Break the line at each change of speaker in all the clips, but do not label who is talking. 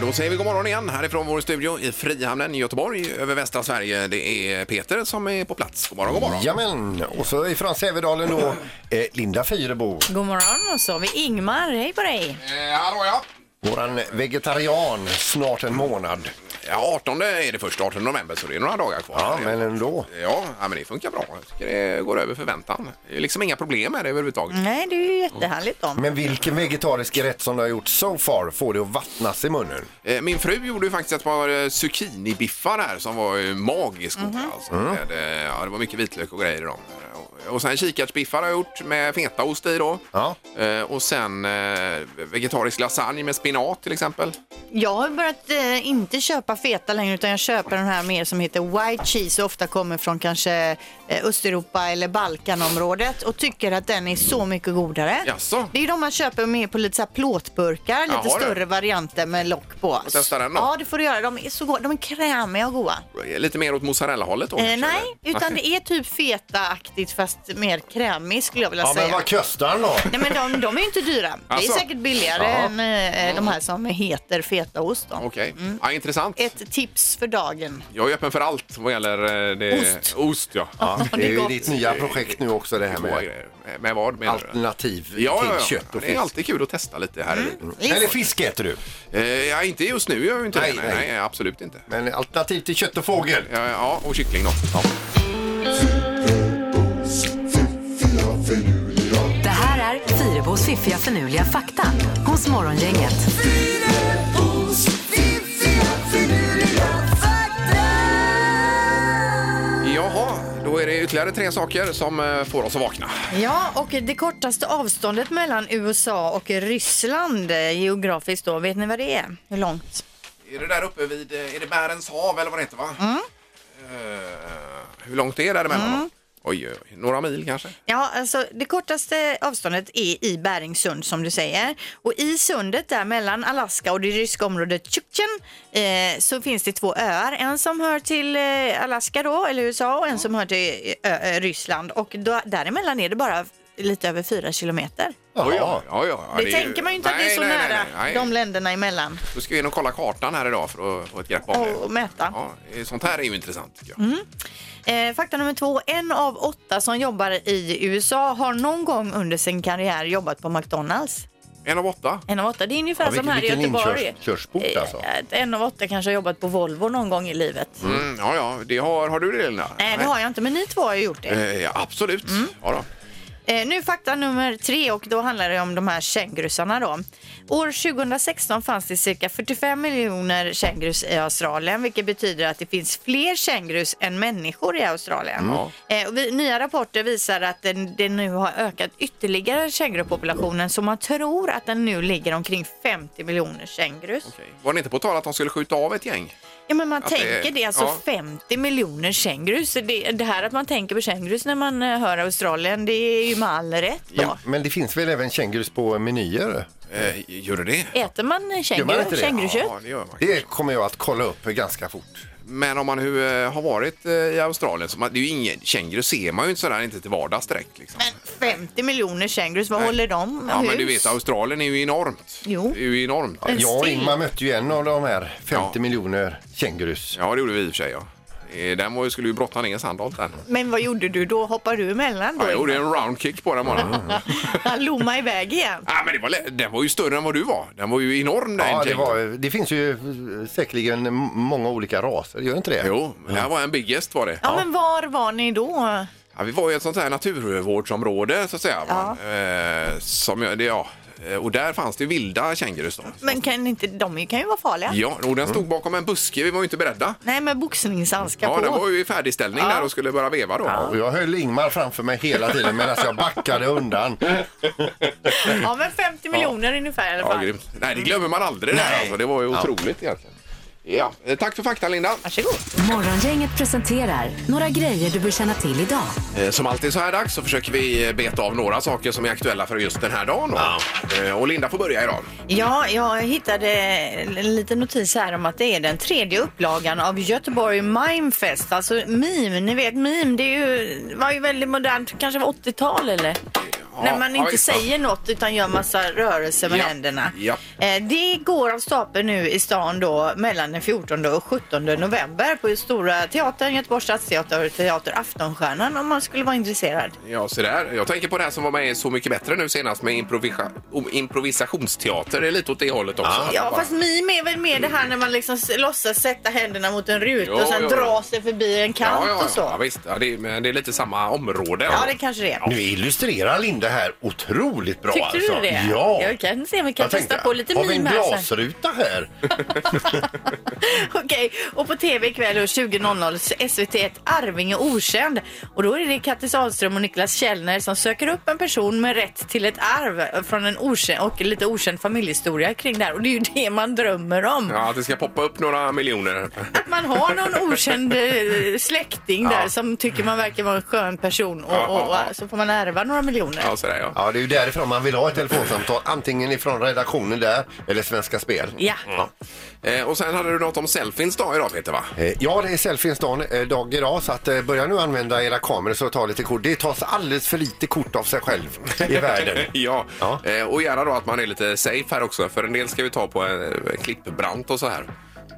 Då säger vi god morgon igen härifrån vår studio i Frihamnen i Göteborg över västra Sverige. Det är Peter som är på plats. God morgon, god morgon.
Jajamän, och så ifrån Sävedalen då, eh, Linda Fyrebo,
God morgon och så har vi Ingmar. Hej på dig!
Eh, hallå ja.
våran vegetarian, snart en månad.
ja! 18 är det först, 18 november, så det är några dagar kvar.
Ja, men ändå.
Ja, ja, men det funkar bra. Jag tycker det går över förväntan. Det är liksom inga problem med det överhuvudtaget.
Nej, det är ju jättehärligt då.
Men vilken vegetarisk rätt som du har gjort so far får det att vattnas i munnen.
Eh, Min fru gjorde ju faktiskt ett par eh, zucchinibiffar här som var eh, magiskt goda. Alltså. Med, eh, ja, det var mycket vitlök och grejer i dem. Eh, Och, och sen kikärtsbiffar har jag gjort med fetaost i då.
Ja.
Eh, Och sen eh, vegetarisk lasagne med spinat till exempel.
Jag har börjat eh, inte köpa feta längre utan jag köper den här mer som heter white cheese och ofta kommer från kanske eh, Östeuropa eller Balkanområdet och tycker att den är så mycket godare.
Jaså?
Det är de man köper med på lite så här plåtburkar, lite
Jaha, du.
större varianter med lock på. Får
testa den då?
Ja, det får du göra. De är så goda. De är krämiga och goda.
Eh, Lite mer åt mozzarella-hållet då?
Eh,
kanske,
nej,
eller?
utan det är typ fetaaktigt fast mer krämig skulle jag vilja
Ja,
säga.
men vad kostar den då?
Nej men de, de är ju inte dyra.
Alltså?
Det är säkert billigare
Ja.
än eh, de här som heter fetaost. Då.
Okej, ja, intressant.
Ett tips för dagen.
Jag är öppen för allt vad gäller eh, det...
Ost.
Ost, ja.
Ja, det är ju
gott.
ditt nya projekt nu också det här
Goda
med
grejer. Eh, Med vad menar du?
alternativ
Ja, ja,
till
ja.
kött och
Det är
fisk.
alltid kul att testa lite här i livet.
Eller fisk äter du,
Eh, ja, inte just nu gör jag ju inte
Nej,
det. Nej,
nej.
nej, absolut inte.
men alternativ till kött och fågel.
Ja, ja och kyckling då. Ja.
Det här är Fyrabos fiffiga förnuliga fakta hos Morgongänget.
Jaha, då är det ytterligare tre saker som eh, får oss att vakna.
Ja, och det kortaste avståndet mellan USA och Ryssland eh, geografiskt då, vet ni vad det är? Hur långt?
Är det där uppe vid, eh, är det Bärens hav eller vad det heter va?
Mm.
Eh, hur långt är det däremellan då? Oj, oj, oj, några mil kanske?
Ja, alltså det kortaste avståndet är i Bäringsund som du säger. Och i sundet där mellan Alaska och det ryska området Chukchen eh, så finns det två öar. En som hör till eh, Alaska då, eller USA, och en som hör till eh, ö, ö, Ryssland. Och då, däremellan är det bara lite över fyra kilometer.
Oj,
Ja.
ja, ja, ja,
det
är ju-
tänker man ju inte att det är
Nej,
så
nej,
nära
Nej, nej,
de länderna emellan.
Då ska vi in och kolla kartan här idag för att få ett grepp om det.
Och mäta.
Ja, eh, sånt här är ju intressant tycker jag.
Mm. Eh, fakta nummer två. En av åtta som jobbar i USA har någon gång under sin karriär jobbat på McDonalds.
En av åtta.
En av åtta, det är ungefär
Ja,
som
vilken
här i
vilken
Göteborg.
inkörsport
Eh,
alltså.
att En av åtta kanske har jobbat på Volvo någon gång i livet.
Mm, ja, ja, det har, har du det Elina?
Nej, det har jag Mm. inte, men ni två har ju gjort det.
Eh, ja, absolut. Ja, då.
Eh, nu fakta nummer tre och då handlar det om de här kängurusarna då. År 2016 fanns det cirka 45 miljoner kängurus i Australien, vilket betyder att det finns fler kängurus än människor i Australien. Eh, och vi, nya rapporter visar att den, den nu har ökat ytterligare kängurupopulationen, så man tror att den nu ligger omkring 50 miljoner kängurus.
Okej. Var det inte på tal att de skulle skjuta av ett gäng?
Ja, men man
Att det-
tänker det, alltså
ja.
50 miljoner kängurus. Det, det här att man tänker på kängurus när man eh, hör Australien, det är ju med all rätt då.
Men det finns väl även kängurus på menyer?
Eh, gör det det?
Äter man
Gör man inte
känguru,
det?
kängurukött?
Ja, det gör man.
Det kommer jag att kolla upp ganska fort.
Men om man nu eh, har varit eh, i Australien, så man, det är ju ingen, känguru ser man ju inte sådär, inte till vardags direkt. Liksom.
Men 50 miljoner kängurus, vad
Nej.
håller de?
ja,
hus?
men du vet, Australien är ju enormt.
Jo.
Det är ju enormt.
Men
Jag och
still.
Ingmar mötte ju en av de här 50
Ja.
miljoner kängurus.
Ja, det gjorde vi i och för sig. Ja. Eh, Den var, ju- skulle ju brotta ner Sandholt där.
Men vad gjorde du då? Hoppade du emellan då?
Ja, jag gjorde
Ingmar?
en roundkick på den bara.
Han lommade iväg igen.
Ah, men det var, lä- den var ju större än vad du var. Den var ju enorm den
Ja, det,
kängurun.
var, det finns ju eh, säkerligen m- många olika raser, gör det inte det?
Jo, det här var en biggest var det.
Ja, men var var ni då?
Ja, vi var ju ett sånt här naturvårdsområde så att säga. va? Eh, som, jag- det, ja. Eh, Och där fanns det vilda kängurus då.
Men kan inte, de kan ju vara farliga.
Ja, och den stod bakom en buske, vi var ju inte beredda.
Nej, med boxningshandskar
Ja,
på.
den var ju i färdigställning där och skulle börja veva då.
Och jag höll Ingmar framför mig hela tiden medan jag backade undan.
ja, men 50 miljoner ungefär i alla
Ja,
fall.
grymt. Nej, det glömmer man aldrig där alltså. Det var ju otroligt egentligen. Ja, eh, tack för fakta Linda.
Varsågod.
Morgongänget presenterar några grejer du bör känna till idag.
Eh, Som alltid så här dags så försöker vi eh, beta av några saker som är aktuella för just den här dagen. då. Eh, Och Linda får börja idag.
Ja, jag hittade en liten notis här om att det är den tredje upplagan av Göteborg Mimefest. Alltså meme, ni vet meme, det är ju, var ju väldigt modernt, kanske var 80-tal eller? när man
ja,
inte
visst.
säger något utan gör massa rörelser med
Ja,
händerna.
ja.
Eh, Det går av stapeln nu i stan då mellan den 14 och 17 november på Stora Teatern, Göteborgs Stadsteater och Teater Aftonstjärnan om man skulle vara intresserad.
Ja, så där. Jag tänker på det här som var med i Så mycket bättre nu senast med improvisa- om- improvisationsteater. Det är lite åt det hållet också.
Ja, fast mim är väl mer det här när man liksom s- låtsas sätta händerna mot en ruta
Jo,
och sen
jo, jo.
dra sig förbi en kant
ja, ja,
och så.
Ja,
Ja,
visst. Ja, det, är, men det är lite samma område.
det kanske det är.
Nu illustrerar Linda här otroligt bra
Tyckte
alltså.
du det?
Ja.
Jag kan se om vi kan
Jag
testa på lite
har vi en
meme här sen.
glasruta här?
Okej, och på tv ikväll då 20.00 så SVT1 Arvinge okänd. Och då är det Kattis Ahlström och Niklas Källner som söker upp en person med rätt till ett arv från en okänd och lite okänd familjehistoria kring det här. Och det är ju det man drömmer om.
Ja, att det ska poppa upp några miljoner.
Att man har någon okänd eh, släkting där som tycker man verkar vara en skön person och,
Ja, ja,
och, och
ja.
så får man ärva några miljoner.
Ja, så där, ja.
Ja, det är ju därifrån man vill ha ett telefonsamtal. Antingen ifrån redaktionen där eller Svenska Spel.
Ja.
Eh, och sen hade du något om selfiens dag idag, Peter, va?
Eh, Ja, det är selfiens dag, eh, dag idag så att eh, börja nu använda era kameror så ta lite kort. Det tas alldeles för lite kort av sig själv i världen.
Ja,
Ja.
Eh, och gärna då att man är lite safe här också. För en del ska vi ta på en klippbrant och så här.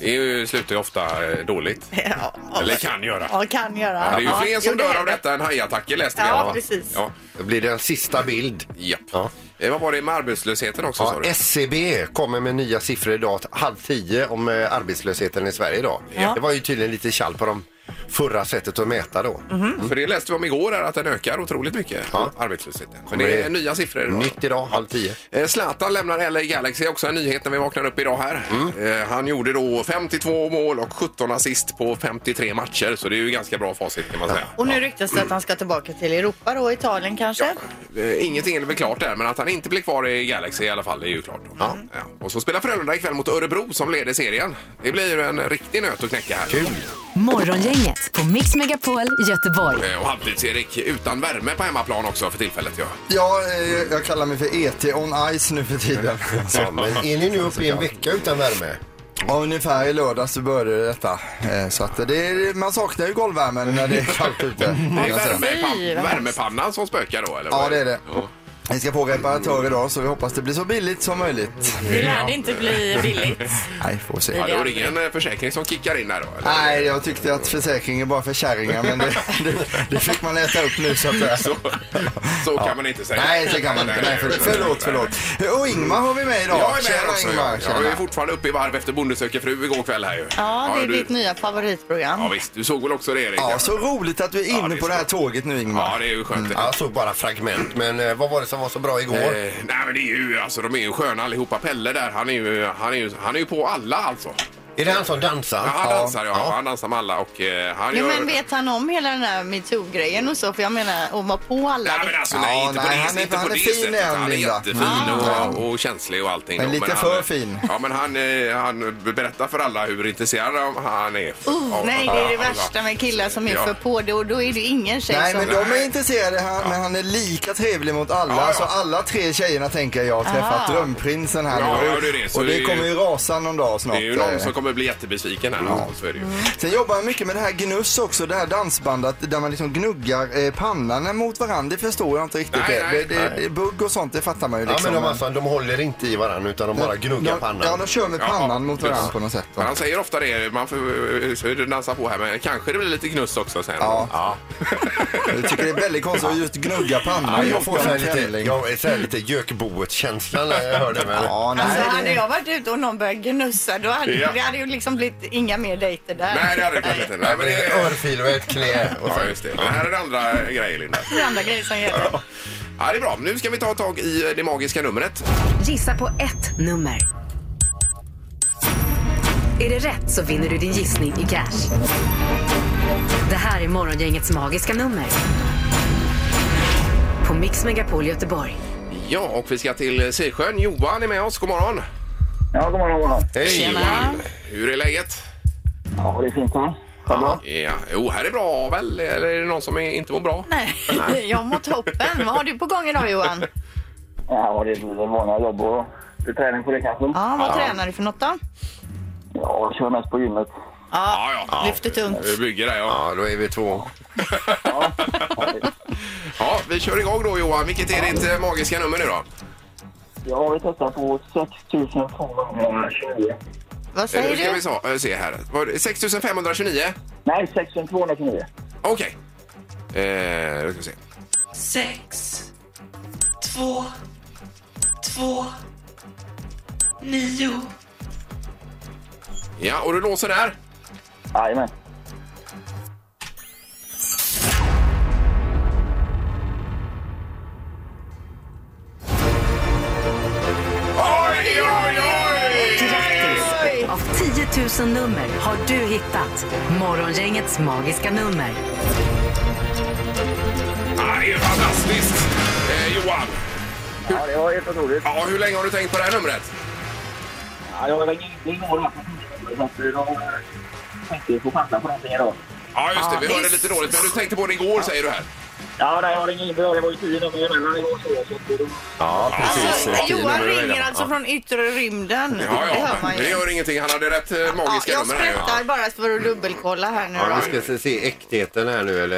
Det är ju, slutar ju ofta eh, dåligt.
Ja,
Eller kan göra.
Ja, kan göra.
Det är ju
Ja,
fler som
jo, det
dör
är
av
det.
detta än hajattacker läste vi.
Ja,
va?
precis.
Ja,
Det blir den sista bild.
japp.
Ja.
Eh, Vad var det med arbetslösheten också?
Ja,
sa du?
SCB kommer med nya siffror idag, halv tio, om eh, arbetslösheten i Sverige idag. Det var ju tydligen lite tjall på dem förra sättet att mäta då.
Mm. För det läste vi om igår här, att den ökar otroligt mycket,
Ja.
arbetslösheten. Men
Kommer
det
det-
är nya siffror idag.
Nytt idag, halv tio.
Eh, Zlatan lämnar LA Galaxy, också en nyhet när vi vaknar upp idag här.
Mm.
Eh, Han gjorde då 52 mål och 17 assist på 53 matcher, så det är ju ganska bra facit kan man säga.
Och nu ryktas det att han ska tillbaka till Europa då, Italien kanske?
Eh, Ingenting är väl klart där, men att han inte blir kvar i Galaxy i alla fall, det är ju klart. Ja. Och så spelar Frölunda ikväll mot Örebro som leder serien. Det blir ju en riktig nöt att knäcka här. Kul!
Morgongänget på Mix Megapol Göteborg.
Eh, Och halvtids-Erik utan värme på hemmaplan också för tillfället. Ja.
Ja, eh, jag kallar mig för ET on ice nu för tiden.
Ja, men är ni nu uppe i en vecka utan värme?
Ja, ungefär i lördags så började detta. Eh, Så att det är, man saknar ju golvvärmen när det är kallt ute.
Det är
Fy,
värmepan-
vad
värmepannan som spökar då, eller? vad
Ja, det är det.
Ja.
Vi ska fråga reparatörer idag så vi hoppas det blir så billigt som möjligt.
Det lär inte bli billigt.
Nej, får se.
Ja, då är det ingen eh, försäkring som kickar in här då? Eller?
Nej, jag tyckte att försäkringen bara för kärringar men det, det, det fick man äta upp nu så att säga.
Så, så kan man inte säga.
Nej, så kan man inte. Nej, för, förlåt, förlåt. Och Ingmar har vi med idag.
Jag är med här
Tjena,
också.
Ingmar.
ja. Jag är fortfarande uppe i varv efter Bonde söker fru igår kväll här ju.
Ja, det är
du,
ditt nya favoritprogram.
Ja, visst. Du såg väl också det, Erik?
Ja, så Mm, roligt att du är
Ja, det
inne
är
på det här
så.
tåget nu Ingmar.
Ja, det är ju skönt. det.
Jag såg Alltså, bara fragment, men eh, vad var det som var så bra igår?
Eh, nej men det är ju, alltså de är ju sköna allihopa. Pelle där, han är ju, han är ju, han är ju på alla alltså.
Är det han som dansar?
Ja, han dansar ja, han dansar med alla och eh, han
Jo,
gör...
men vet han om hela den här metoo-grejen och så? För jag menar, att vara på alla.
Nej men alltså nej,
Ja,
inte på
nej,
det,
han är-
inte på
han är
det
fin
sättet.
igen,
Han är
Linda.
jättefin och, och känslig och allting.
Men
då.
lite
han,
för fin.
Ja men han, eh, han berättar för alla hur intresserad av- han är.
Uh,
av-
nej, det är det
av-
värsta med killar som är
Ja.
för på det och då är det ingen tjej
Nej,
som...
men de är intresserade, han, men han är lika trevlig mot alla.
Ja, ja.
Så alla tre tjejerna tänker jag har träffat drömprinsen här
Ja,
nu.
ja, det är det. Så
Och
det är
det
ju-
kommer ju rasa någon dag snart. eh.
Det är ju någon som kommer bli jättebesviken här. Ja. Så är det ju.
Sen jobbar jag mycket med det här gnuss också, det här dansbandet där man liksom gnuggar eh, pannan mot varandra. Det förstår jag inte riktigt.
Nej,
det,
nej,
det, det, det är bugg och sånt, det fattar man ju
Ja,
liksom.
men de, alltså, de håller inte i varandra utan de bara gnuggar
de, Ja,
pannan.
de kör med
Ja,
pannan mot
precis.
varandra på något sätt.
Men han säger ofta det, man får dansa på här men kanske det blir lite gnuss också sen.
Ja.
Ja.
Jag tycker det är väldigt konstigt att just gnugga pannan.
Ja, jag får så här lite,
Tävling.
jag, så här lite gökboet-känsla när jag hör det. Men...
Ja, nej,
Alltså,
det-
hade jag varit ute och någon började gnussa, då hade
Ja.
det hade ju liksom blivit inga mer dejter där.
Nej det hade det kanske inte. Nej,
Nej,
men
det är en
det...
örfil och ett knä. Och så.
Ja just det. Men här är det andra grejer Linda.
Det är andra grejer som gäller.
Ja det är bra. Nu ska vi ta tag i det magiska numret.
Gissa på ett nummer. Är det rätt så vinner du din gissning i cash. Det här är Morgongängets magiska nummer. På Mix Megapol Göteborg.
Ja och vi ska till Sisjön. Johan är med oss. God morgon.
Ja, god morgon, god morgon.
Hej!
Johan. Hur är läget?
Ja, det är fint va? Ja.
Ja, jo här är bra väl? Eller är det någon som är- inte mår bra?
Nej, jag mår toppen. Vad har du på gång idag Johan?
ja, det blir väl vanliga jobb och lite träning på det kanske.
Ja, vad tränar du för något då?
Ja, jag kör mest på gymmet.
Ja,
Ja, ja.
lyfter tungt.
Vi bygger där ja.
Ja, då är vi två.
Ja, vi vi kör igång då Johan. Vilket är ditt eh, magiska nummer nu då?
Jag vill testa på 6229.
Vad
Eh,
säger
ska
du?
vi sa- eh, se här. Var det 6529?
Nej, 6229.
Okej. Eh, då ska vi se.
Sex, två, två, nio.
Ja, och du låser där.
Jajamän.
Oj, oj, oj!
Grattis! Av 10 000 nummer har du hittat Morgongängets magiska nummer.
Ja, det är ju fantastiskt! Eh, Johan,
Ja, det var helt otroligt.
ja, hur länge har du tänkt på det här numret?
Ja, jag var länge ute igår. här på- Så att eh, de tänkte få chansa på någonting idag.
Ja, just det. Vi
det
hörde
är
lite dåligt, men du tänkte på det igår säger du här.
Ja, nej, jag har ingen inbörd. Det var ju tio nummer emellan igår. Så, så att eh, det var...
Ja, precis.
Alltså,
Tio
Johan
nummer
ringer
redan.
alltså från yttre rymden.
Ja,
det
ja,
hör man
men det
ju.
gör ingenting. Han hade rätt eh,
Ja,
magiska
jag
nummer här ju.
sprättar bara för att dubbelkolla här nu
Ja,
då.
vi ska se- se äktheten här nu eller?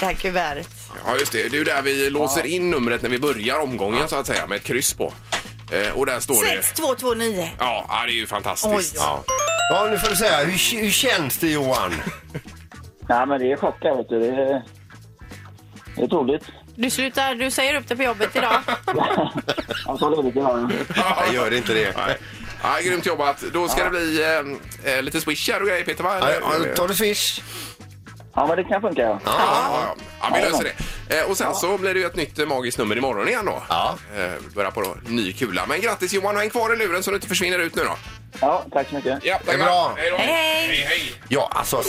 Det här kuvertet.
Ja, just det. Det är ju där vi låser in numret när vi börjar omgången så att säga med ett kryss på. Eh, och där står det...
6229.
Ja, ja, det är ju fantastiskt.
Oj,
ja.
Ja, nu får du säga. Hur, hur känns det Johan?
Nej, men det är chock här, vet du. Det är, det är otroligt.
Du slutar, du säger upp dig på jobbet idag.
Jag tar ledigt idag.
Nej, gör inte det.
Nej. Ja, grymt jobbat. Då ska det bli eh, eh, lite swishar och grejer, Peter, va?
Ja,
Eller-
ja, Tar du swish?
Ja, men det kan funka. Ja.
Ja, ja, ja. ja, vi löser det. Eh, Och sen så blir det ju ett nytt eh, magiskt nummer imorgon igen då.
Ja.
Eh, Börjar på då, ny kula. Men grattis Johan, häng kvar i luren så du inte försvinner ut nu då.
ja, tack så mycket.
Ja,
Det är bra.
Hej, då.
Hej.
hej, hej.
Ja, alltså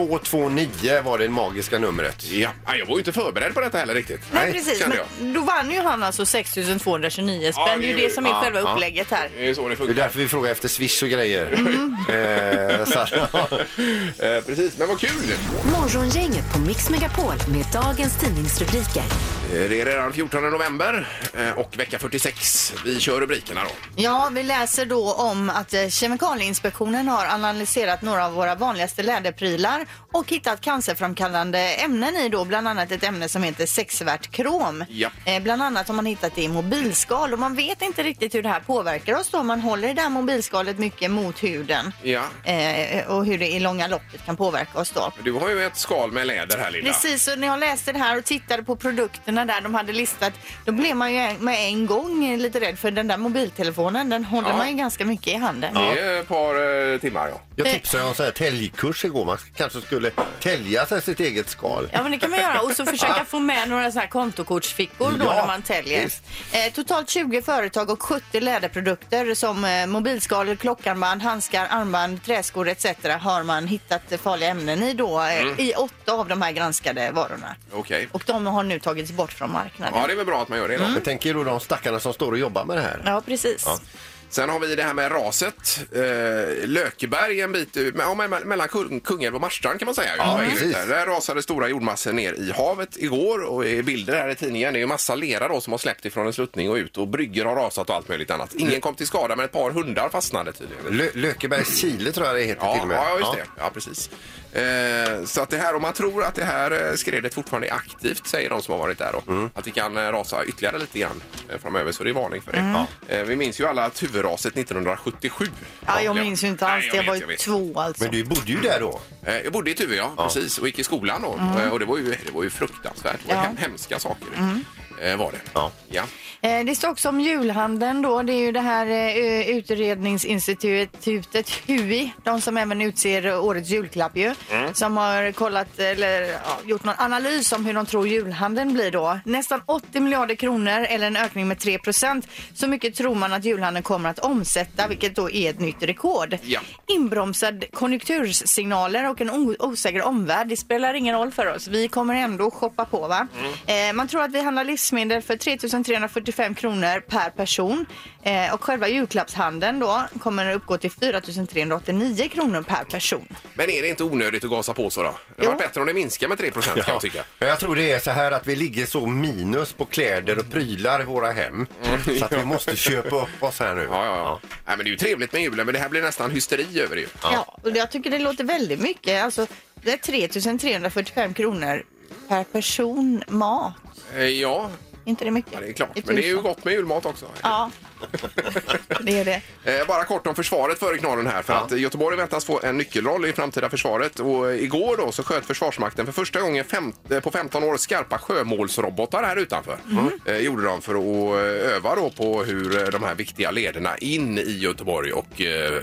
6229 var det magiska numret.
Ja, nej, jag var ju inte förberedd på detta heller riktigt.
Nej, precis.
kände jag.
Men då vann ju han alltså 6229 spänn.
Ja,
det är ju
det är-
det som är
ja,
själva
ja.
upplägget här.
Det är ju så det
Det är
funkar.
därför vi frågar efter swish och grejer. Eh, så att-
Eh, precis, men vad kul! Eh,
Morgongänget på Mix Megapol med dagens tidningsrubriker.
Eh, Det är redan 14 november eh, och vecka 46. Vi kör rubrikerna då.
Ja, vi läser då om att eh, Kemikalieinspektionen har analyserat några av våra vanligaste läderprylar och hittat cancerframkallande ämnen i då, bland annat ett ämne som heter sexvärt krom.
Ja.
Eh, Bland annat har man hittat det i mobilskal och man vet inte riktigt hur det här påverkar oss då. Man håller det här mobilskalet mycket mot huden
Ja.
eh, och hur det i långa loppet kan påverka oss då.
Du har ju ett skal med läder här, Linda.
Precis, och när jag läste det här och tittade på produkterna där de hade listat, då blev man ju en- med en gång lite rädd för den där mobiltelefonen, den håller
Ja.
man ju ganska mycket i handen.
Det är ett par eh, timmar, ja.
Jag tipsade om så här täljkurs igår. Man kanske skulle tälja sig sitt eget skal.
Mm.
Ja, men det kan man göra. Och så försöka få med några så här kontokortsfickor då
Ja,
när man täljer.
visst.
Eh, totalt 20 företag och 70 läderprodukter som eh, mobilskal, klockarmband, handskar, armband, träskor etc. har man hittat eh, farliga ämnen i då, eh, i åtta av de här granskade varorna.
Okej.
Och de har nu tagits bort från marknaden.
Ja, det är väl bra att man gör det. Då.
Jag tänker då de stackarna som står och jobbar med det här.
Ja, precis.
Sen har vi det här med raset. Eh, Lökeberg en bit ut- ja, men mellan Kung- Kungälv och Marstrand kan man säga.
Ja,
På väg ut
precis.
Där. där rasade stora jordmassor ner i havet igår och i bilder här i tidningen. Det är ju massa lera då som har släppt ifrån en sluttning och ut och bryggor har rasat och allt möjligt annat.
Mm.
Ingen kom till skada men ett par hundar fastnade tydligen.
Lö Lökebergs Chile tror jag det heter till
Ja,
och med.
ja, just det. Ja, precis. Eh, så att det här, om man tror att det här eh, skredet fortfarande är aktivt, säger de som har varit där då,
Mm.
att det kan eh, rasa ytterligare lite grann eh, framöver, så det är varning för det.
Mm.
Eh, vi minns ju alla att huvudraset 1977.
Ja, jag minns ju inte alls.
Nej,
jag,
vet,
var ju
vet.
två alltså.
Men du bodde ju där då.
Eh, Jag bodde i Tuve, ja, precis. Och gick i skolan då. Eh, Och det var ju, det var ju fruktansvärt. Det var
Mm. Ja. Mm.
hem- hemska saker. Eh, var det.
Ja.
ja.
Eh, Det står också om julhandeln då. Det är ju det här eh, utredningsinstitutet HUI, de som även utser årets julklapp ju, som har kollat eller ja, gjort någon analys om hur de tror julhandeln blir då. Nästan 80 miljarder kronor eller en ökning med 3 procent. Så mycket tror man att julhandeln kommer att omsätta, vilket då är ett nytt rekord.
Ja.
Inbromsad konjunktursignaler och en o- osäker omvärld, det spelar ingen roll för oss. Vi kommer ändå shoppa på. va?
Mm.
Eh, man tror att vi handlar livsmedel för 3 345 kronor per person eh, och själva julklappshandeln då kommer att uppgå till 4 389 kronor per person.
Men är det inte onödigt att gasa på så då? Det
Jo.
var bättre om det minskar med 3 procent kan jag tycka.
Men jag tror det är så här att vi ligger så minus på kläder och prylar i våra hem. Så att vi måste köpa upp oss här nu.
Mm. Ja, ja, ja. Nej, men det är ju trevligt med julen, men det här blir nästan hysteri över det ju.
Ja. och jag tycker det låter väldigt mycket. Alltså, det är 3 345 kronor per person mat.
Eh, Ja,
inte det mycket?
ja, det är klart.
I
Men det är ju
tusen.
gott med julmat också.
Ja, det är det.
Eh, Bara kort om försvaret före knallen här. För att Göteborg väntas få en nyckelroll i framtida försvaret. Och eh, igår då så sköt Försvarsmakten för första gången fem, eh, på 15 år skarpa sjömålsrobotar här utanför. Eh, gjorde de för att eh, öva då på hur eh, de här viktiga lederna in i Göteborg och eh,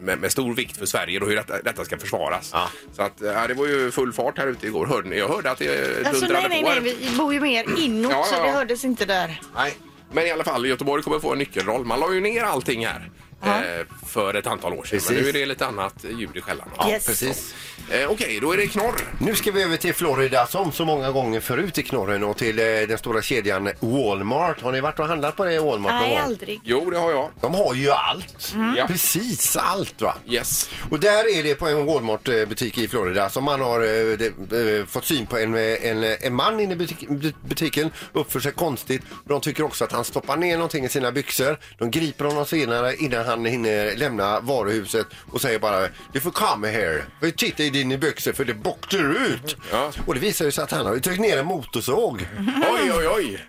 med, med stor vikt för Sverige och hur detta, detta ska försvaras. Så att, eh, det var ju full fart här ute igår. Hörde ni? Jag hörde att det eh,
Alltså,
dundrade
nej, nej,
på här
nej, vi bor ju mer inåt
Ja,
så
ja,
det
ja.
hördes inte där.
Nej, men i alla fall Göteborg kommer få en nyckelroll. Man la ju ner allting här.
Ja.
eh, För ett antal år sedan.
Precis.
Men nu är det lite annat ljud i skällan.
Yes.
Precis.
Eh, Okej, då är det knorr.
Nu ska vi över till Florida som så många gånger förut i knorren och till eh, den stora kedjan Walmart. Har ni varit och handlat på det Walmart någon
Nej,
gång?
aldrig.
Jo, det har jag.
De har ju allt.
Mm. Ja.
Precis allt va.
Yes.
Och där är det på en Walmart-butik i Florida som man har eh, det, eh, fått syn på en, eh, en, eh, en man inne i butik, bu- butiken. Uppför sig konstigt. De tycker också att han stoppar ner någonting i sina byxor. De griper honom senare innan han hinner lämna varuhuset och säger bara du får komma här. Vi tittar i dina byxor för det boktar ut.
Ja. Mm.
Och det visar ju sig att han har ju tryckt ner en motorsåg.
Oj, oj, oj.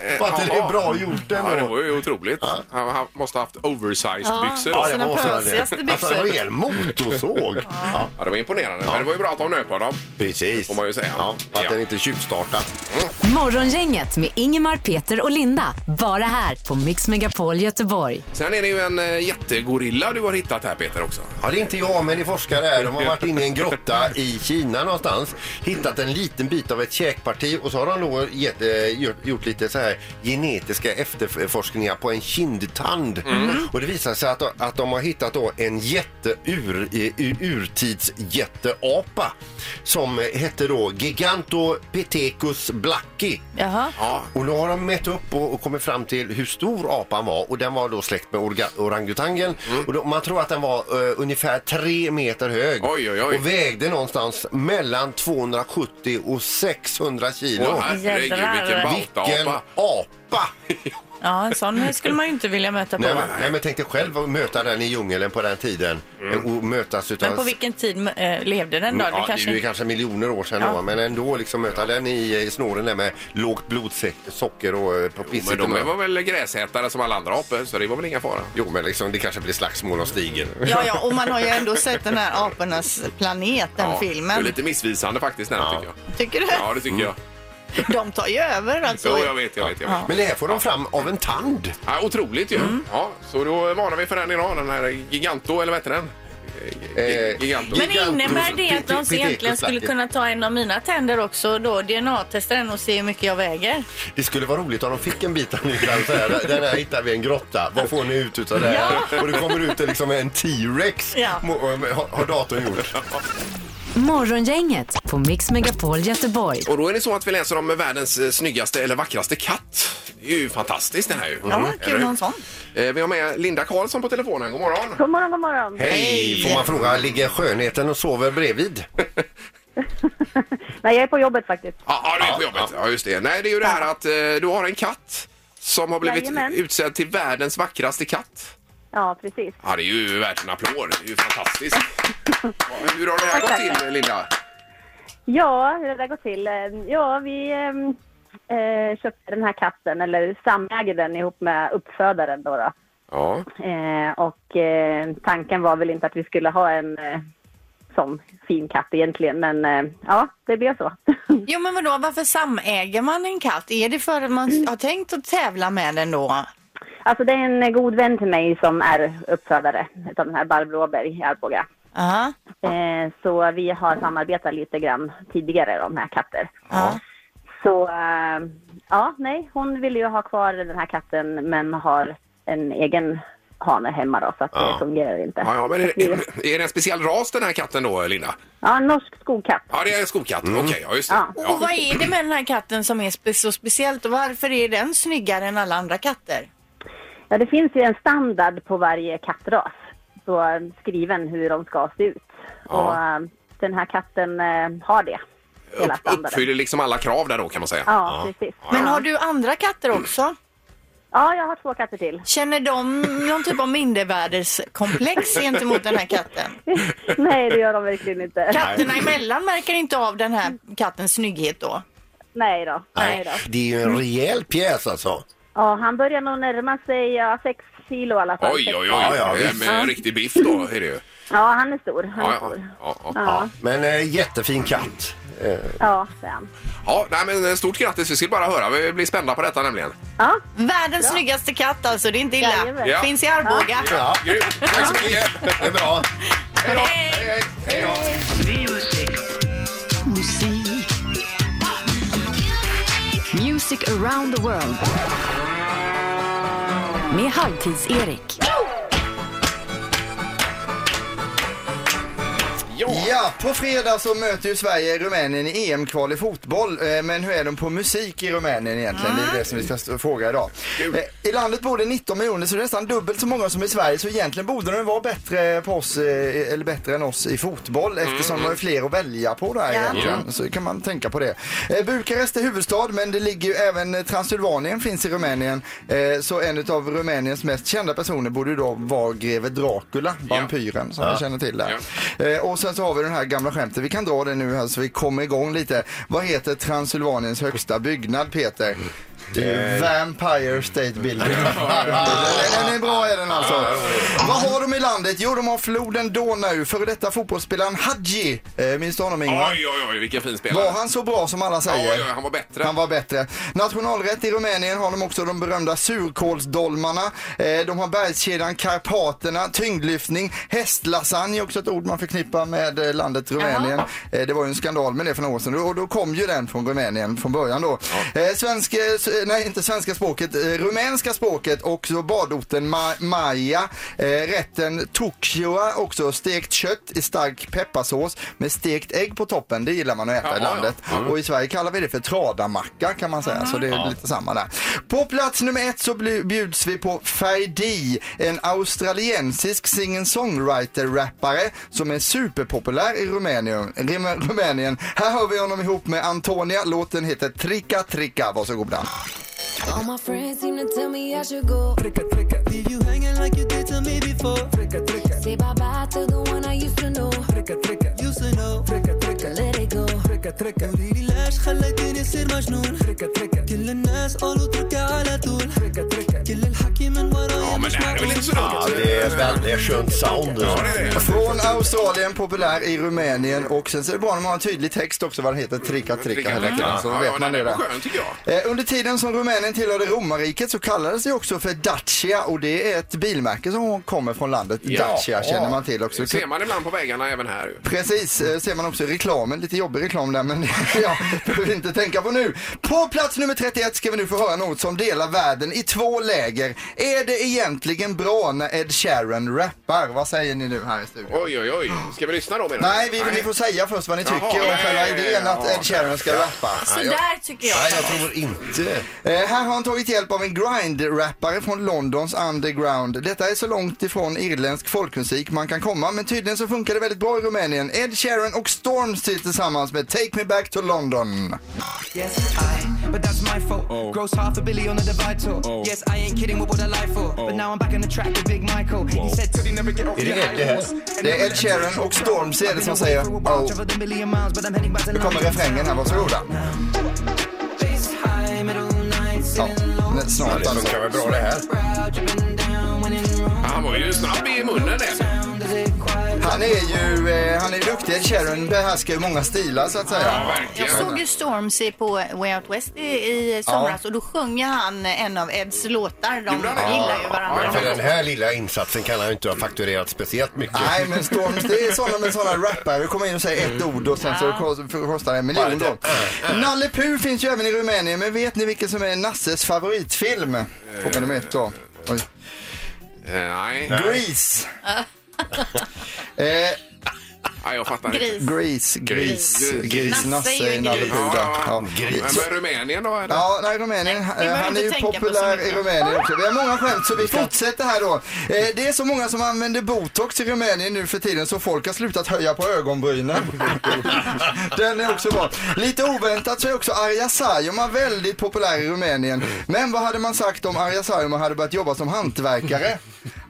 Eh,
Fattar det är
jaha.
bra gjort
Ja, det
ändå.
var ju otroligt. Han han måste ha haft oversized byxor.
Ja,
Ja,
det
Sina
var så här det.
pösigaste
Alltså en
byxor.
rejäl motorsåg. Ja,
det var imponerande. Men det var ju bra att de nöp honom.
precis.
Får man ju säga.
Ja, att
Ja.
den inte tjuvstartar.
Morgongänget med Ingemar, Peter och Linda. Bara här på Mix Megapol Göteborg.
Sen är det ju en eh, jättegorilla du har hittat här, Peter, också.
Ja, det är inte jag, men det är forskare här. De har varit inne i en grotta i Kina någonstans, hittat en liten bit av ett käkparti och så har de då gett, eh, gjort, gjort lite så här genetiska efterforskningar på en kindtand. Och det visar sig att, att de har hittat då en jätteur, i- i- urtidsjätteapa som hette då Gigantopithecus blacki.
Jaha.
Ja.
Och då har de mätt upp och, och kommit fram till hur stor apan var och den var då släkt med orga, orangutangen.
Mm.
Och då, man tror att den var eh, ungefär tre meter hög
Oj, oj, oj.
och vägde någonstans mellan 270 och 600 kilo.
Åh, herregud, vilken
Jädrar.
Vilken
baltaapa.
apa!
Ja, en sån skulle man ju inte vilja möta på.
nej, men, nej men tänk dig själv att möta den i djungeln på den tiden
Mm.
och mötas utav
Men
alltså-
på vilken tid eh, levde den då?
Ja, det,
kanske-
är ju kanske miljoner år sedan
Ja.
då, men ändå liksom möta den i, i snåren där med lågt blodsocker och eh, på pissigt
Men
humör.
de var väl gräsätare som alla andra apor, så det var väl inga fara.
Jo, men liksom, det kanske blir slagsmål om stigen.
Ja, ja, och man har ju ändå sett den här apornas planet, den
Ja, Det är
filmen. Mm.
lite missvisande faktiskt, den tycker jag.
Tycker du?
Ja, det tycker jag.
De tar ju över alltså.
Jo, jag vet, jag vet. Jag vet.
Men det här får de fram av en tand.
Ja, otroligt ju.
Mm.
Ja, så då varnar vi för den idag, den här Giganto, eller vad heter den? Gi-
Eh,
Giganto.
Men
Gigantos-
innebär det att de
Pite-
så egentligen skulle
Pitecus-lacket.
kunna ta en av mina tänder också då DNA-testa den och se hur mycket jag väger?
Det skulle vara roligt om de fick en bit av nyckeln. så här, Den här hittar vi i en grotta. Vad får ni ut utav det här? Och det kommer ut liksom en T-rex.
Ja.
Mo- Har, har datorn gjort.
Morgongänget på Mix Megapol Göteborg.
Och då är det så att vi läser om världens eh, snyggaste eller vackraste katt. Det är ju fantastiskt det här ju.
Ja,
Mm, Eller
kul
hur?
någon sån.
Eh, Vi har med Linda Karlsson på telefonen. God morgon!
God morgon, god morgon.
Hej! Får man fråga, ligger skönheten och sover bredvid?
Nej, jag är på jobbet faktiskt.
Ja, ah, du är på jobbet. Ja, just det. Nej, det är ju det här att eh, du har en katt som har blivit
Jajamän.
utsedd till världens vackraste katt.
Ja, precis.
Ja, det är ju värt en applåd. Det är ju fantastiskt. Ja, Hur har det här gått till, Linda?
Ja, hur har det gått till? Eh, Ja, vi ehm, eh, köpte den här katten, eller samäger den ihop med uppfödaren då. då.
Ja.
Eh, och eh, tanken var väl inte att vi skulle ha en eh, sån fin katt egentligen, men eh, ja, det blev så.
Jo, men vadå, varför samäger man en katt? Är det för att man har tänkt att tävla med den då?
alltså det är en eh, god vän till mig som är uppfödare av den här Barbro Åberg i Arboga.
Ja.
Eh, så vi har samarbetat lite grann tidigare om här katter.
Ja.
Så eh, ja, nej, hon ville ju ha kvar den här katten men har en egen hane hemma då så att
Ja.
det fungerar inte.
Ja, ja, men är, är det en speciell ras den här katten då, Linda?
Ja, en norsk skogkatt.
Ja, det är en skokatt. Okej, ja just det.
Ja.
Ja.
Och vad är det med den här katten som är spe- så speciellt och varför är den snyggare än alla andra katter?
Ja, det finns ju en standard på varje kattras. Så eh, skriven hur de ska se ut. Och eh, den här katten eh, har det. Hela
Upp,
standarden.
uppfyller liksom alla krav där då kan man säga.
Ja, precis.
Men har du andra katter också?
Ja, jag har två katter till.
Känner de någon typ av mindervärdeskomplex gentemot den här katten?
Nej, det gör de verkligen inte.
Katterna emellan märker inte av den här kattens snygghet då?
Nej då. Nej då.
Det är ju en rejäl pjäs alltså.
Ja, han börjar nog närma sig ja, sex kilo i alla fall.
Oj, oj, oj.
Ja, ja,
det är
visst.
med riktig biff då är det ju.
Ja, han är stor. Han är
Ja, ja,
stor.
ja, ja.
Ja,
Men eh, jättefin katt. Eh,
ja, det är han.
ja nej, men stort grattis. Vi skulle bara höra. Vi blir spända på detta nämligen.
Ja,
Världens snyggaste katt alltså, det är inte illa.
Jajamän.
Ja.
Finns i Arboga.
ja,
Grymt. Tack så mycket.
det är bra.
Hej då. Hej, hej då.
Music around the world. Med Halvtids-Erik.
Ja.
Ja, på fredag så möter ju Sverige Rumänien i EM-kval i fotboll. Eh, Men hur är de på musik i Rumänien egentligen? Det är det som vi ska s- fråga idag. Eh, I landet bor det 19 miljoner så det är nästan dubbelt så många som i Sverige. Så egentligen borde de vara bättre, på oss, eh, eller bättre än oss i fotboll eftersom de har ju fler att välja på där egentligen. Så kan man tänka på det. Eh, Bukarest är huvudstad men det ligger ju även eh, Transylvanien finns i Rumänien. Eh, Så en av Rumäniens mest kända personer borde ju då vara greve Dracula, vampyren som vi känner till där. Eh, Och sen så har vi den här gamla skämtet. Vi kan dra det nu här så vi kommer igång lite. Vad heter Transylvaniens högsta byggnad, Peter?
Eh.
Vampire State Building. den, den är bra är den alltså. Vad har de i landet? Jo, de har floden Donau. Före detta fotbollsspelaren Hadji. Eh, Minns du honom Ingvar?
Oj, oj, oj, vilken fin spelare.
Var han så bra som alla säger?
Oj, oj, han var bättre.
Han var bättre. Nationalrätt i Rumänien har de också de berömda surkålsdolmarna. Eh, de har bergskedjan Karpaterna, tyngdlyftning, hästlasagne är också ett ord man förknippar med eh, landet Rumänien. Eh, det var ju en skandal med det för några år sedan och då kom ju den från Rumänien från början då. Eh, svenska, s- nej inte svenska språket, eh, rumänska språket och så badorten Ma- Maja. Eh, rätten Tokyoa också stekt kött i stark pepparsås med stekt ägg på toppen. Det gillar man att äta
Ja,
i
ja.
landet. Och i Sverige kallar vi det för tradamacka kan man säga, så det är lite samma där. På plats nummer ett så bli- bjuds vi på Ferdi, en australiensisk singer-songwriter-rappare som är superpopulär i Rumänien. Rum- Rumänien. Här hör vi honom ihop med Antonia, låten heter Tricka Tricka, varsågoda.
All my friends seem to tell me I should go.
Leave you hanging like you did to me before. Fricka, fricka,
Say bye bye to the one I used to know.
fricka, fricka. Used to know. Fricka, fricka,
Let it go.
fricka, fricka. قوليلي ليش خليتني أصير مجنون. فرقة، فرقة. كل الناس قالوا اتركها على طول. فرقة، فرقة. كل الحكي من ورايا
Ja, men
مش
det här är väl
معقول.
inte så dumt?
Ja, det är väldigt skönt sound.
Ja, det är det.
Från Australien, populär i Rumänien och sen så är det bra när man har en tydlig text också vad den heter, Tricka Tricka.
Tricka,
här
tricka.
veckan, Så
Ja, ja,
vet man
den
det
är
där.
skön, tycker jag.
Eh, Under tiden som Rumänien tillhörde romarriket så kallades det också för Dacia och det är ett bilmärke som kommer från landet.
Ja.
Dacia känner man till också.
Det ser man ibland på väggarna även här. ju.
Precis, eh, ser man också i reklamen. Lite jobbig reklam där men ja, behöver vi inte tänka på nu. På plats nummer 31 ska vi nu få höra något som delar världen i två läger. Är det egentligen bra när Ed Sheeran rappar? Vad säger ni nu här i studion?
Oj, oj, oj. Ska vi lyssna då menar du?
Nej, vi vill ju få säga först vad ni
Jaha.
tycker om själva idén att Ed Sheeran ska rappa.
Så där tycker jag.
Nej, jag tror inte.
Eh, här har han tagit hjälp av en grind-rappare från Londons underground. Detta är så långt ifrån irländsk folkmusik man kan komma, men tydligen så funkar det väldigt bra i Rumänien. Ed Sheeran och Stormzy tillsammans med Take Me Back to London.
Yes, I, but that's my fault. Gross half a billion on the divide tour. Yes, I ain't kidding, what would I lie for? But now I'm back on the track with Big Michael. He said, "Could he never get off
Är det
your
Ed det
high
här?
horse?"
Det är Ed Sheeran och Stormzy är det som säger oh. Nu kommer refrängen här, varsågoda. Ja, men snart
Det
alltså.
funkar väl bra det här?
Han var ju snabb i munnen där.
Han är ju eh, han är ju duktig. Ed Sheeran behärskar ju många stilar så att säga.
Verkligen.
Jag såg ju Stormzy på Way Out West i, i somras och då sjöng ju han en av Eds låtar. De
Gjorde han det?
gillar ju varandra.
Men för den här lilla insatsen kan han ju inte ha fakturerat speciellt mycket.
Nej men Storms, det är sådana med sådana rappare. Du kommer in och säger ett ord och sen så kost- kostar det en miljon då. Nalle Puh finns ju även i Rumänien, men vet ni vilken som är Nasses favoritfilm? Fråga nummer ett då. Oj.
Eh, Nej.
Grease. Eh,
Ja, jag fattar
Gris. Gris, gris,
Gris.
gris,
Nasse är
nasse
ju
i
en
Nalle
gris.
Buda.
Ja,
Ja.
Men, men Rumänien då? Eller?
Ja, nej, Rumänien.
vi
eh,
behöver
han är
inte
ju
tänka på så
populär i
mycket.
Rumänien också. Vi har många skämt så vi fortsätter här då. Eh, Det är så många som använder botox i Rumänien nu för tiden så folk har slutat höja på ögonbrynen. Den är också bra. Lite oväntat så är också Arja Saijonmaa väldigt populär i Rumänien. Men vad hade man sagt om Arja Saijonmaa hade börjat jobba som hantverkare?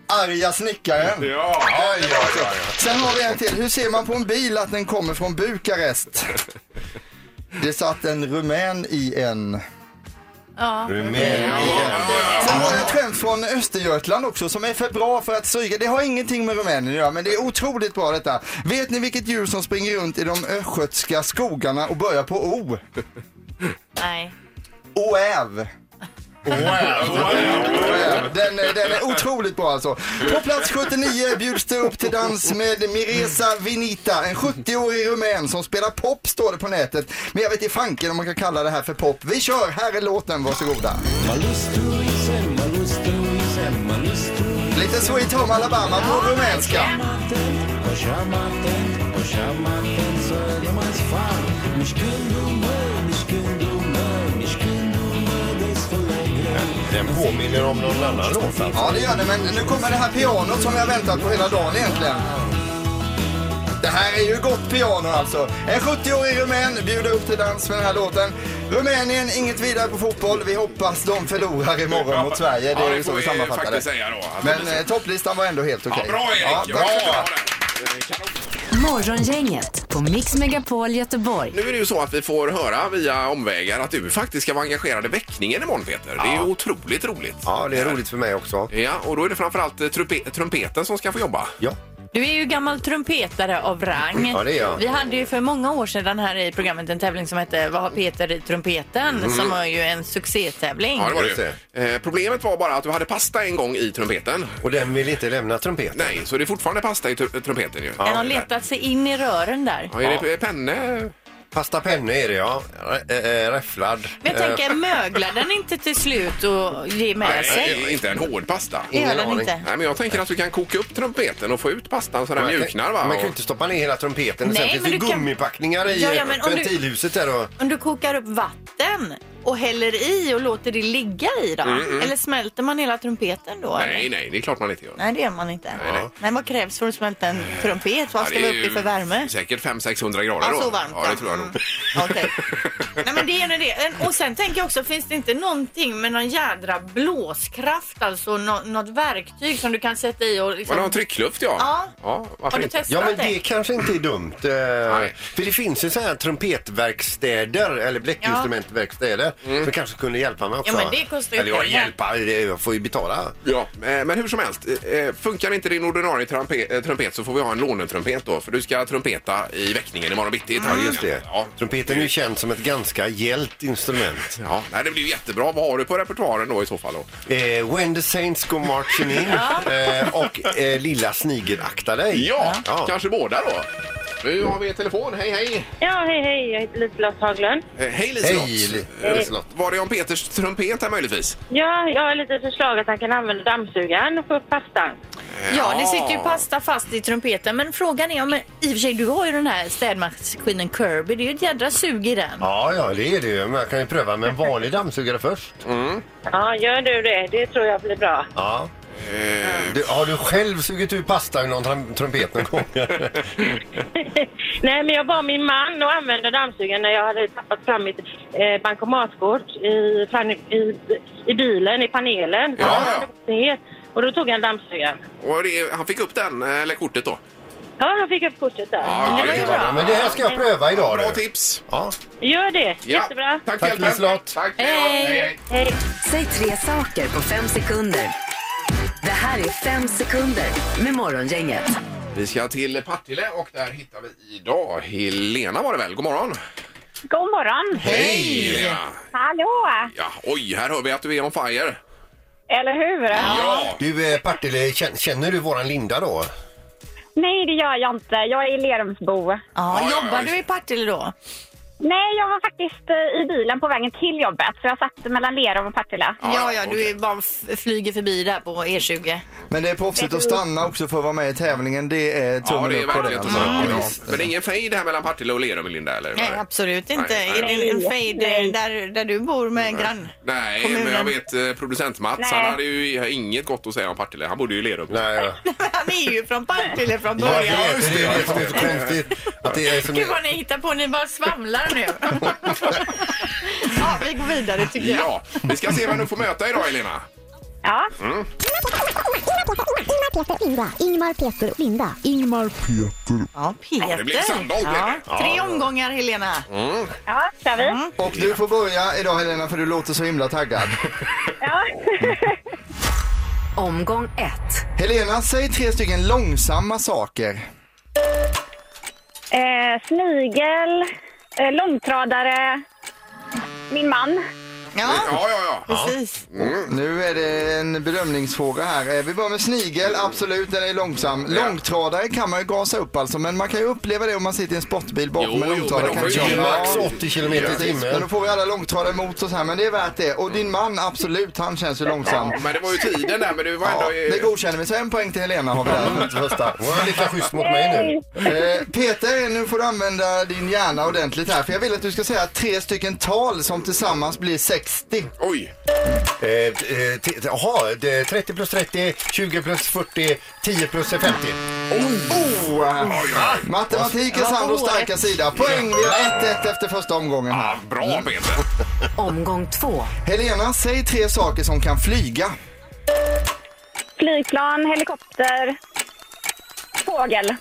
Arga snickaren.
Ja,
ja, ja, Sen har vi en till. Hur ser man på en bil att den kommer från Bukarest? Det satt en rumän i en...
Ja.
Sen har jag ett skämt från Östergötland också som är för bra för att stryka. Det har ingenting med Rumänien att göra men det är otroligt bra detta. Vet ni vilket djur som springer runt i de östgötska skogarna och börjar på O?
Nej.
Oäv. Den, är- den är otroligt bra alltså. På plats 79 bjuds det upp till dans med Miresa Vinita, en 70-årig rumän som spelar pop står det på nätet. Men jag vet inte fanken om man kan kalla det här för pop. Vi kör, här är låten, varsågoda. Lite Sweet Home Alabama på rumänska.
Den påminner om någon annan låt alltså.
Ja, det gör det, men nu kommer det här pianot som jag har väntat på hela dagen egentligen. Det här är ju gott piano alltså. En 70-årig rumän bjuder upp till dans med den här låten. Rumänien, inget vidare på fotboll. Vi hoppas de förlorar imorgon mot Sverige. Det
Ja,
är
det
ju så
får
vi
vi
sammanfattar det.
faktiskt säga då. Alltså,
Men
det-
eh, topplistan var ändå helt okej.
Ja, bra Erik!
Ja,
bra.
tack ska du ha.
Morgongänget på Mix Megapol Göteborg.
Nu är det ju så att vi får höra via omvägar att du faktiskt ska vara engagerad i väckningen imorgon Peter. Det är ju otroligt roligt.
Ja, det är roligt för mig också.
Ja, och då är det framförallt eh, trupe- trumpeten som ska få jobba.
Ja.
Du är ju gammal trumpetare av rang.
Ja, det är jag.
Vi hade ju för många år sedan här i programmet en tävling som hette Vad har Peter i trumpeten?
Mm.
Som var ju en succétävling.
Ja, det var det. ju. Eh, problemet var bara att du hade pasta en gång i trumpeten.
Och den vill inte lämna trumpeten.
Nej, så det är fortfarande pasta i tru- trumpeten ju.
Den har letat sig in i rören där.
Ja, är det penne?
Pasta penne är det ja. Äh, äh, räfflad.
Men jag tänker, möglar den inte till slut och ger med
Nej,
sig?
eh, inte en hård pasta.
Det gör Ingen den aning. inte.
Nej, men jag tänker att du kan koka upp trumpeten och få ut pastan så den
Eh, Man kan-
mjuknar. Va?
Man kan ju inte stoppa ner hela trumpeten.
Nej,
Sen finns det
men
ju
du kan-
gummipackningar i
Ja,
ja,
ja, men om du-
ventilhuset där. Och...
Om du kokar upp vatten och häller i och låter det ligga i då?
Mm, mm.
Eller smälter man hela trumpeten då? eller?
Nej, nej, det är klart man inte gör.
Nej, det gör man inte.
Nej, nej.
Men vad krävs för att smälta en trumpet? Vad ska vi
Ja,
upp
det är
i för
ju
värme?
Säkert 500-600 grader
Ja,
då.
så varmt, Mm,
Ja, det
ja.
tror jag nog.
Nej men det är nu det. En- Och sen tänker jag också, finns det inte någonting med någon jädra blåskraft, alltså nå- något verktyg som du kan sätta i och liksom...
Var det någon tryckluft, ja?
Ja.
ja varför
Har du
inte?
testat
Ja, men
det?
det kanske inte är dumt. eh, För det finns ju så här trumpetverkstäder eller bläckinstrumentverkstäder
Mm.
som kanske kunde hjälpa mig också.
Ja, men det kostar ju
Eller jag
pengar.
hjälpa, det- jag får ju betala.
Ja, eh, men hur som helst. eh, Funkar inte din ordinarie trampe- eh, trumpet så får vi ha en lånetrumpet då. För du ska trumpeta i väckningen imorgon bitti.
Ja, Mm, just det.
Ja.
Trumpeten är ju känd som ett ganska gällt instrument.
Ja, nej, det blir ju jättebra. Vad har du på repertoaren då i så fall? Då?
Eh, When the Saints Go Marching In eh, och eh, Lilla Snigel Akta Dig.
Ja, kanske båda då. Nu har vi en telefon. Hej, hej!
Ja, hej, hej. Jag heter Liselott Haglund.
Eh, Hej Liselott!
Hej, Li-
Eh,
Liselott.
Var det om Peters trumpet här möjligtvis?
Ja, jag har lite förslag att han kan använda dammsugaren och få upp pastan.
Ja, det sitter ju pasta fast i trumpeten. Men frågan är om... I och för sig, du har ju den här städmaskinen Kirby. Det är ju ett jädra sug i den.
Ja, ja, det är det ju. Men jag kan ju pröva med en vanlig dammsugare först.
Ja, gör du det. Det tror jag blir bra.
Ja. Du, har du själv sugit ur pasta ur någon tram- trumpet någon gång?
Nej, men jag bad min man att använda dammsugaren när jag hade tappat fram mitt eh, bankomatkort i, fran- i, i bilen, i panelen. Så han hade gått ner, Och då tog han dammsugaren.
Och det, han fick upp den, eh, eller kortet då?
Ja, han fick upp kortet där.
Ja,
det var bra. Men det här ska jag pröva idag.
Bra
du.
tips!
Ja.
Gör det.
Ja.
Jättebra.
Tack för
Tack
hjälpen.
Liselott.
Tack.
Hej! Säg tre saker på fem sekunder. Det här är fem sekunder med Morgongänget.
Vi ska till Partille och där hittar vi idag Helena var det väl? God morgon!
God morgon!
Hej! Helena.
Hallå!
Ja, oj, här hör vi att du är on fire.
Eller hur?
Du eh, Partille, kän- känner du våran Linda då?
Nej, det gör jag inte. Jag är lerumsbo.
Ja, jobbar du i Partille då?
Nej, jag var faktiskt eh, i bilen på vägen till jobbet, så jag satt mellan Lerum och Partille.
Ja, ja, du är bara f- flyger förbi där på E E20.
Men det är proffsigt att stanna också för att vara med i tävlingen. Det är
Ja,
tummen
det är
upp på det.
verkligen
Alltså.
mm.
Ja,
bra.
visst.
Men det är ingen fejd här mellan Partille och Lerum, Linda? Eller?
Nej, absolut inte.
Nej, nej.
Är det en fade eh, där, där du bor med en grann?
Nej,
Kommunen.
men jag vet eh, producent Mats,
Nej.
han hade ju inget gott att säga om Partille. Han bodde ju i Lerum.
Nej,
Han är ju från Partille från
Ja,
början.
det är det.
Det är det som är så konstigt. Att det är som
Gud vad ni hittar på, ni bara svamlar nu. ja, vi går vidare tycker jag.
Ja, vi ska se vem du får möta idag, Elena.
Ja.
Mm.
Ingmar, Peter, Linda. Ingmar, Peter, Linda. Ingmar, Peter.
Ja,
Ja, det blir Sandholt,
Ja,
blir det.
tre
Ja.
omgångar Helena.
Mm.
Ja, kör vi.
Och du får börja idag Helena för du låter så himla taggad.
Omgång ett.
Helena, säg tre stycken långsamma saker.
Eh, snigel, eh, långtradare, min man.
Ja,
ja, ja.
Precis.
Nu är det en bedömningsfråga här. Eh, Vi börjar med snigel, absolut den är långsam. Långtradare kan man ju gasa upp alltså, men man kan ju uppleva det om man sitter i en sportbil
Jo,
bakom en
jo,
långtradare.
men de får ju
köra-
max 80 kilometer i
Precis,
timmen.
Men då får vi alla långtradare emot oss här, men det är värt det. Och din man, absolut, han känns ju långsam.
Ja, men det var ju tiden där, men det var
Ja,
ändå...
det godkänner vi. Så en poäng till Helena har vi där.
Första. Hon var lika schysst mot mig nu.
Eh, Peter, nu får du använda din hjärna ordentligt här. För jag vill att du ska säga tre stycken tal som tillsammans blir 60.
Oj!
Eh, eh, t- Jaha, det- 30 plus 30, 20 plus 40, 10 plus 50.
Oh! Matematik är Sandros starka sida. Poäng, vi har 1-1 efter första omgången. här.
Bra, Peter!
Omgång två.
Helena, säg tre saker som kan flyga.
Flygplan, helikopter, fågel.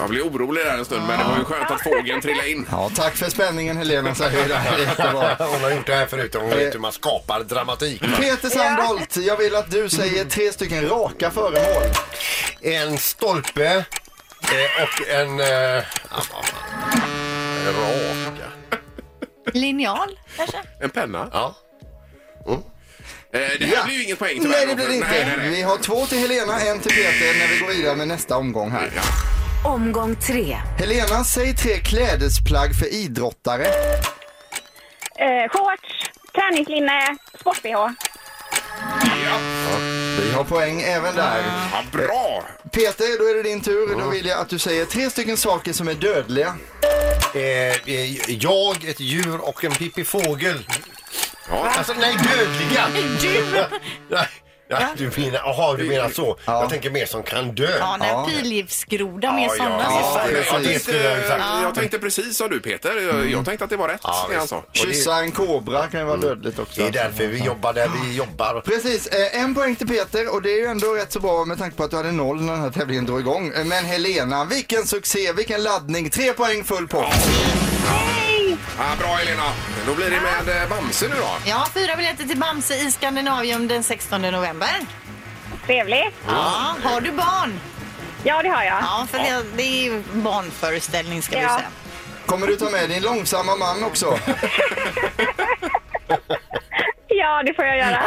Jag blev orolig där en stund, men det var ju skönt att fågeln trillade in.
Ja, tack för spänningen Helena, säger vi där. Jättebra.
Hon har gjort det här förut. Hon vet hur man skapar dramatik.
Peter Sandholt, jag vill att du säger tre stycken raka föremål.
En stolpe eh, och en... eh, ah, vad fan. Raka.
Linjal kanske?
En penna?
Ja.
Eh, det här
Ja.
blir ju inget poäng tyvärr.
Nej, det blir det
Nej,
inte.
nej, nej.
Vi har två till Helena, en till Peter när vi går vidare med nästa omgång här.
Omgång tre.
Helena, säg tre klädesplagg för idrottare.
Eh, shorts, träningslinne, sport-bh.
Vi har poäng även där.
Ja, bra!
Peter, då är det din tur. Då vill jag att du säger tre stycken saker som är dödliga.
Eh, eh, jag, ett djur och en pippifågel.
Ja.
Alltså nej, dödliga!
Du!
Nej, nej, du menar, aha, du menar så. Jag tänker mer som kan dö.
Ja, när pilgiftsgroda med
Ja, ja,
sådana
ja,
saker.
det- ja,
Jag
det
tänkte,
skulle jag ju sagt.
jag tänkte precis som du Peter.
Mm.
Jag, jag tänkte att det var rätt det han sa.
Kyssa en kobra kan ju vara dödligt också.
Mm. Det är därför vi jobbar där vi jobbar.
Precis, eh, en poäng till Peter och det är ju ändå rätt så bra med tanke på att du hade noll när den här tävlingen drog igång. Eh, Men Helena, vilken succé, vilken laddning, tre poäng full pott.
Ja, bra Helena! Då blir det med eh, Bamse nu då.
Ja, fyra biljetter till Bamse i Skandinavium den 16 november.
Trevligt.
Ja, har du barn?
Ja, det har jag.
Ja, för det, det är ju barnföreställning ska vi
Ja.
säga.
Kommer du ta med din långsamma man också?
Ja, det får jag göra.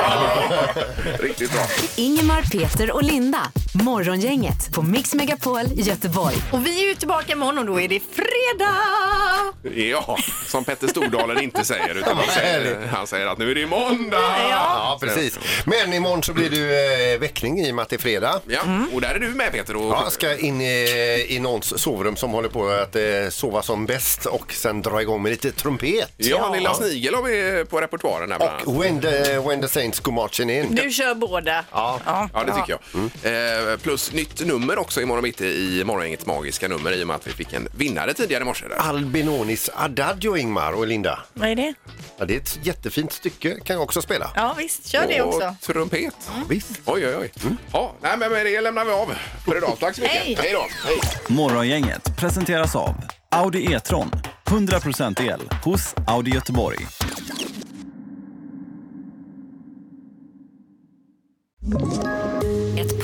Riktigt bra.
Ingemar, Peter och Linda. Morgongänget på Mix Megapol Göteborg.
Och vi är ju tillbaka imorgon och då är det fredag!
Ja, som Petter Stordalen inte säger. Utan han, säger han säger att nu är det måndag!
Ja, precis. Men imorgon så blir du eh, väckning i och med att det är fredag.
Ja, och där är du med Peter. Och...
Ja, ska in i, i någons sovrum som håller på att eh, sova som bäst och sen dra igång med lite trumpet.
Ja, Lilla Snigel har vi på repertoaren här bland annat.
Och When the, when the Saints Go Marching In.
Du kör båda.
Ja.
Ja, det tycker jag. Eh, plus nytt nummer också imorgon mitt i Morgongängets magiska nummer i och med att vi fick en vinnare tidigare i morse.
Ah,
Där.
Albinonis Adagio, Ingmar och Linda.
Vad är det?
Ja, det är ett jättefint stycke, kan jag också spela.
Ja, visst. Kör det
Och
också.
trumpet.
Mm.
Oj, oj, oj. Ja, nej, men med det lämnar vi av för idag. Tack så mycket.
Hej.
Hej då. Hej.
Morgongänget presenteras av Audi E-tron. 100% el hos Audi Göteborg.
Ett